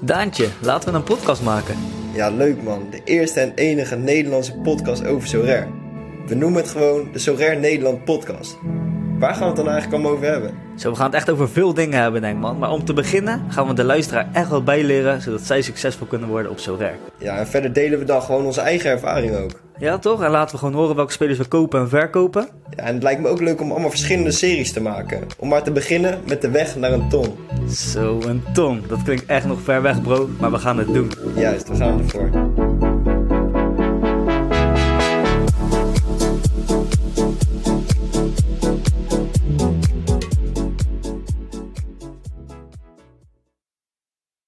Daantje, laten we een podcast maken. Ja, leuk man. De eerste en enige Nederlandse podcast over Sorare. We noemen het gewoon de Sorare Nederland podcast. Waar gaan we het dan eigenlijk allemaal over hebben? Zo, we gaan het echt over veel dingen hebben, denk ik, man. Maar om te beginnen gaan we de luisteraar echt wat bijleren, zodat zij succesvol kunnen worden op Sorare. Ja, en verder delen we dan gewoon onze eigen ervaring ook. Ja, toch? En laten we gewoon horen welke spelers we kopen en verkopen. Ja, en het lijkt me ook leuk om allemaal verschillende series te maken. Om maar te beginnen met de weg naar een ton. Zo, een tong. Dat klinkt echt nog ver weg, bro. Maar we gaan het doen. Juist, we gaan ervoor.